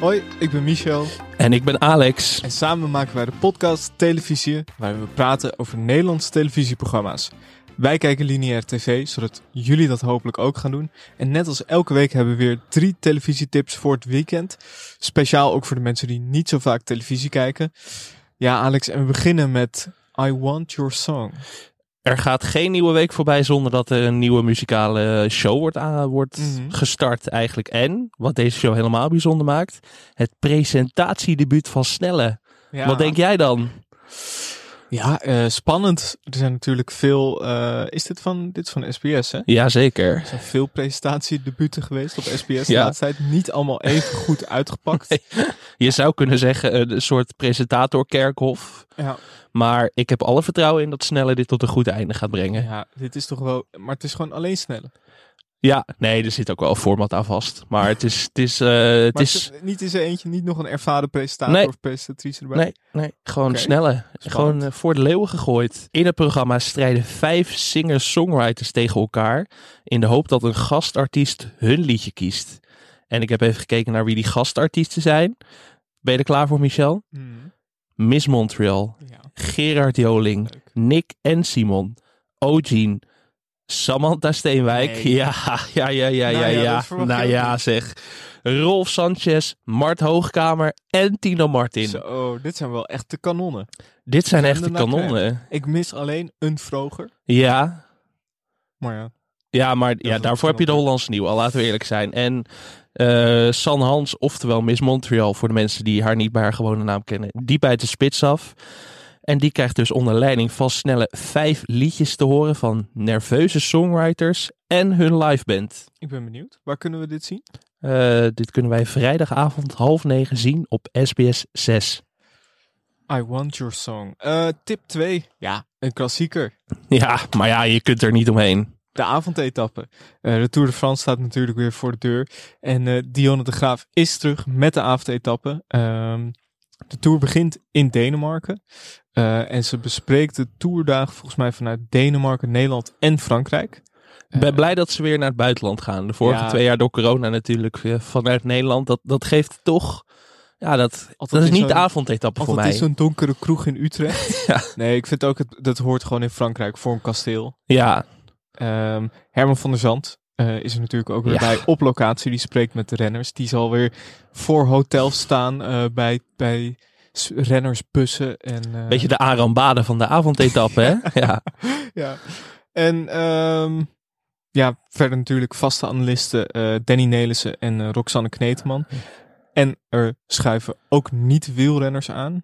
Hoi, ik ben Michel En ik ben Alex. en samen maken wij de podcast Televisie, waar we praten over Nederlandse televisieprogramma's. Wij kijken lineair tv, zodat jullie dat hopelijk ook gaan doen. En net als elke week hebben we weer drie televisietips voor het weekend. Speciaal ook voor de mensen die niet zo vaak televisie kijken. Ja, Alex, en we beginnen met I Want Your Song. Er gaat geen nieuwe week voorbij zonder dat er een nieuwe muzikale show wordt, aan- wordt Mhm. gestart eigenlijk. En, wat deze show helemaal bijzonder maakt, het presentatiedebuut van Snelle. Ja. Wat denk jij dan? Ja, eh, spannend. Er zijn natuurlijk veel. eh, is dit van? Dit is van SBS, hè? Jazeker. Er zijn veel presentatiedebuten geweest op SBS de Ja. laatste tijd. Niet allemaal even goed uitgepakt. Je zou kunnen zeggen eh, een soort presentator Kerkhof. Ja, Maar ik heb alle vertrouwen in dat Snelle dit tot een goed einde gaat brengen. ja, dit is toch wel. Maar het is gewoon alleen sneller. Ja, nee, er zit ook wel een format aan vast. Maar het is... Het is, eh, het Maar is niet in zijn eentje, niet nog een ervaren presentator Nee. of presentatrice erbij. Nee, nee, gewoon Oké. snelle. Gewoon Spannend. eh, voor de leeuwen gegooid. In het programma strijden vijf singer-songwriters tegen elkaar. In de hoop dat een gastartiest hun liedje kiest. En ik heb even gekeken naar wie die gastartiesten zijn. Ben je er klaar voor, Michel? Hmm, Miss Montreal, ja, Gerard Joling, leuk. Nick en Simon, Ogene, Samantha Steenwijk. Nee. Ja, ja, ja, ja, Nou ja, ja, ja. dat verwacht je nou ook ja, niet. zeg. Rolf Sanchez, Mart Hoogkamer en Tino Martin. Zo, oh, dit zijn wel echt de kanonnen. Dit zijn Gaan echt de we er naar kanonnen. Ik mis alleen een vroger. Ja, Maar ja, ja maar is ja, een daarvoor heb je de knopje. Hollandse nieuw, al laten we eerlijk zijn. En eh, San Hans, oftewel Miss Montreal, voor de mensen die haar niet bij haar gewone naam kennen, die bijt de spits af. En die krijgt dus onder leiding van snelle vijf liedjes te horen van nerveuze songwriters en hun liveband. ik ben benieuwd. Waar kunnen we dit zien? Eh, dit kunnen wij vrijdagavond half negen zien op SBS 6. I want your song. Eh, tip 2. Ja, een klassieker. Ja, maar ja, je kunt er niet omheen. de avondetappe. Eh, de Tour de France staat natuurlijk weer voor de deur. En eh Dionne de Graaf is terug met de avondetappe. Ehm, de Tour begint in Denemarken. Eh, en ze bespreekt de Tourdagen volgens mij vanuit Denemarken, Nederland en Frankrijk. Ik ben blij dat ze weer naar het buitenland gaan. De vorige Eh, Ja. twee jaar door corona natuurlijk eh, vanuit Nederland. Dat, dat geeft toch... Ja, dat, dat is in niet de zo'n- avondetappe voor Of het mij. is zo'n donkere kroeg in Utrecht. Ja. Nee, ik vind ook, het, dat hoort gewoon in Frankrijk voor een kasteel. Ja, Ehm, Herman van der Zand eh, is er natuurlijk ook weer Ja. bij op locatie. Die spreekt met de renners. Die zal weer voor hotels staan eh, bij, bij s- rennersbussen. En, eh, beetje de arambade van de avondetappe, hè? Ja. Ja. En ehm, ja, verder natuurlijk vaste analisten eh, Danny Nelissen en eh, Roxanne Kneteman. En er schuiven ook niet wielrenners aan.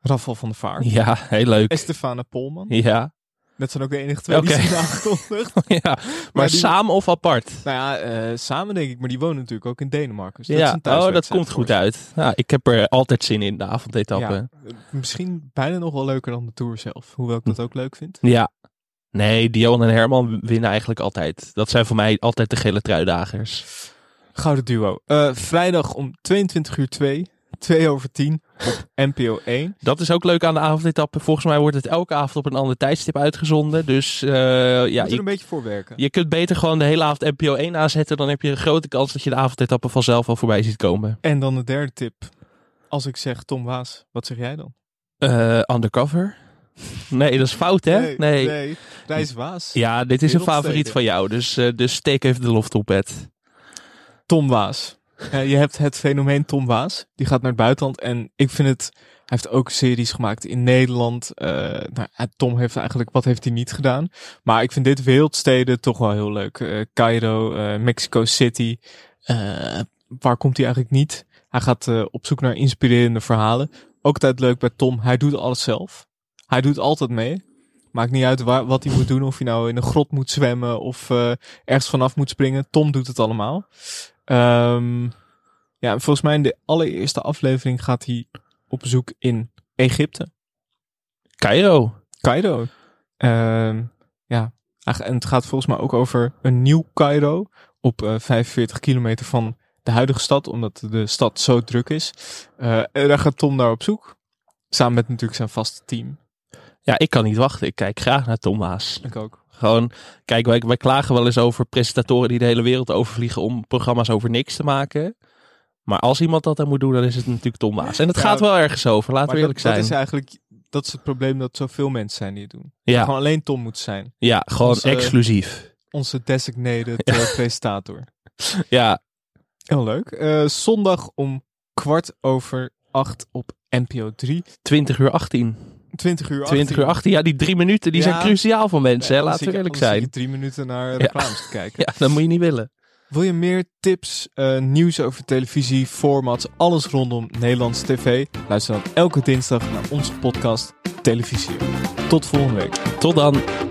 Rafal van der Vaart. ja, heel leuk. En Stefana Polman. Ja, Dat zijn ook de enige twee Oké. die zijn aangekondigd. ja. maar, Maar die- samen of apart? Nou ja, eh, samen denk ik, maar die wonen natuurlijk ook in Denemarken. Dus dat is ja, een oh, dat thuiswedstrijd komt voor goed ze. uit. Ja, ik heb er altijd zin in, de avondetappe. Ja, eh, misschien bijna nog wel leuker dan de Tour zelf. Hoewel ik dat ook leuk vind. Ja. Nee, Dion en Herman winnen eigenlijk altijd. Dat zijn voor mij altijd de gele truidagers. Gouden duo. Eh, vrijdag om 22 uur 2. 2 over 10 op NPO 1. Dat is ook leuk aan de avondetappe. Volgens mij wordt het elke avond op een ander tijdstip uitgezonden. Dus eh, Ja, ja, moet er je, een beetje voor werken. je kunt beter gewoon de hele avond NPO 1 aanzetten. Dan heb je een grote kans dat je de avondetappe vanzelf al voorbij ziet komen. En dan de derde tip. Als ik zeg Tom Waas, wat zeg jij dan? Eh, undercover? Nee, dat is fout hè? Nee. nee. Reis Waas. Ja, dit is een Wereldsteden. favoriet van jou. Dus, eh, dus steek even de loft op het. Tom Waas. Eh, je hebt het fenomeen Tom Waas. Die gaat naar het buitenland. En ik vind het. Hij heeft ook series gemaakt in Nederland. Eh, nou, eh, Tom heeft eigenlijk. Wat heeft hij niet gedaan? Maar ik vind dit wereldsteden toch wel heel leuk. Eh, Cairo, eh, Mexico City. Eh, waar komt hij eigenlijk niet? Hij gaat eh, op zoek naar inspirerende verhalen. Ook altijd leuk bij Tom. Hij doet alles zelf. Hij doet altijd mee. Maakt niet uit waar, wat hij moet doen. Of hij nou in een grot moet zwemmen. Of eh, ergens vanaf moet springen. Tom doet het allemaal. Ehm, ja, en volgens mij in de allereerste aflevering gaat hij op bezoek in Egypte, Cairo. Cairo. Ehm, ja, ach, en het gaat volgens mij ook over een nieuw Cairo op eh, 45 kilometer van de huidige stad, omdat de stad zo druk is. Eh, en daar gaat Tom naar op zoek, samen met natuurlijk zijn vaste team. Ja, ik kan niet wachten. Ik kijk graag naar Tom Waas. Ik ook. Gewoon, kijk, wij, wij klagen wel eens over presentatoren die de hele wereld overvliegen om programma's over niks te maken. Maar als iemand dat dan moet doen, dan is het natuurlijk Tom Waas. En het Ja, gaat wel ergens over, laten Maar we dat, eerlijk dat zijn. is eigenlijk dat is het probleem dat zoveel mensen zijn die het doen. ja, Gewoon alleen Tom moet zijn. ja, gewoon Onze- exclusief. Onze designated eh, presentator. Ja, Heel leuk. Eh, zondag om kwart over acht op NPO 3. 20 uur 18. 20 uur Eh, 20 uur 18, ja, die drie minuten die Ja. zijn cruciaal voor mensen, hè, laten we eerlijk zijn. drie minuten naar Ja. reclames te kijken. Ja, dat moet je niet willen. Wil je meer tips, eh, nieuws over televisie, formats, alles rondom Nederlandse tv? Luister dan elke dinsdag naar onze podcast Televisie. Tot volgende week. Tot dan.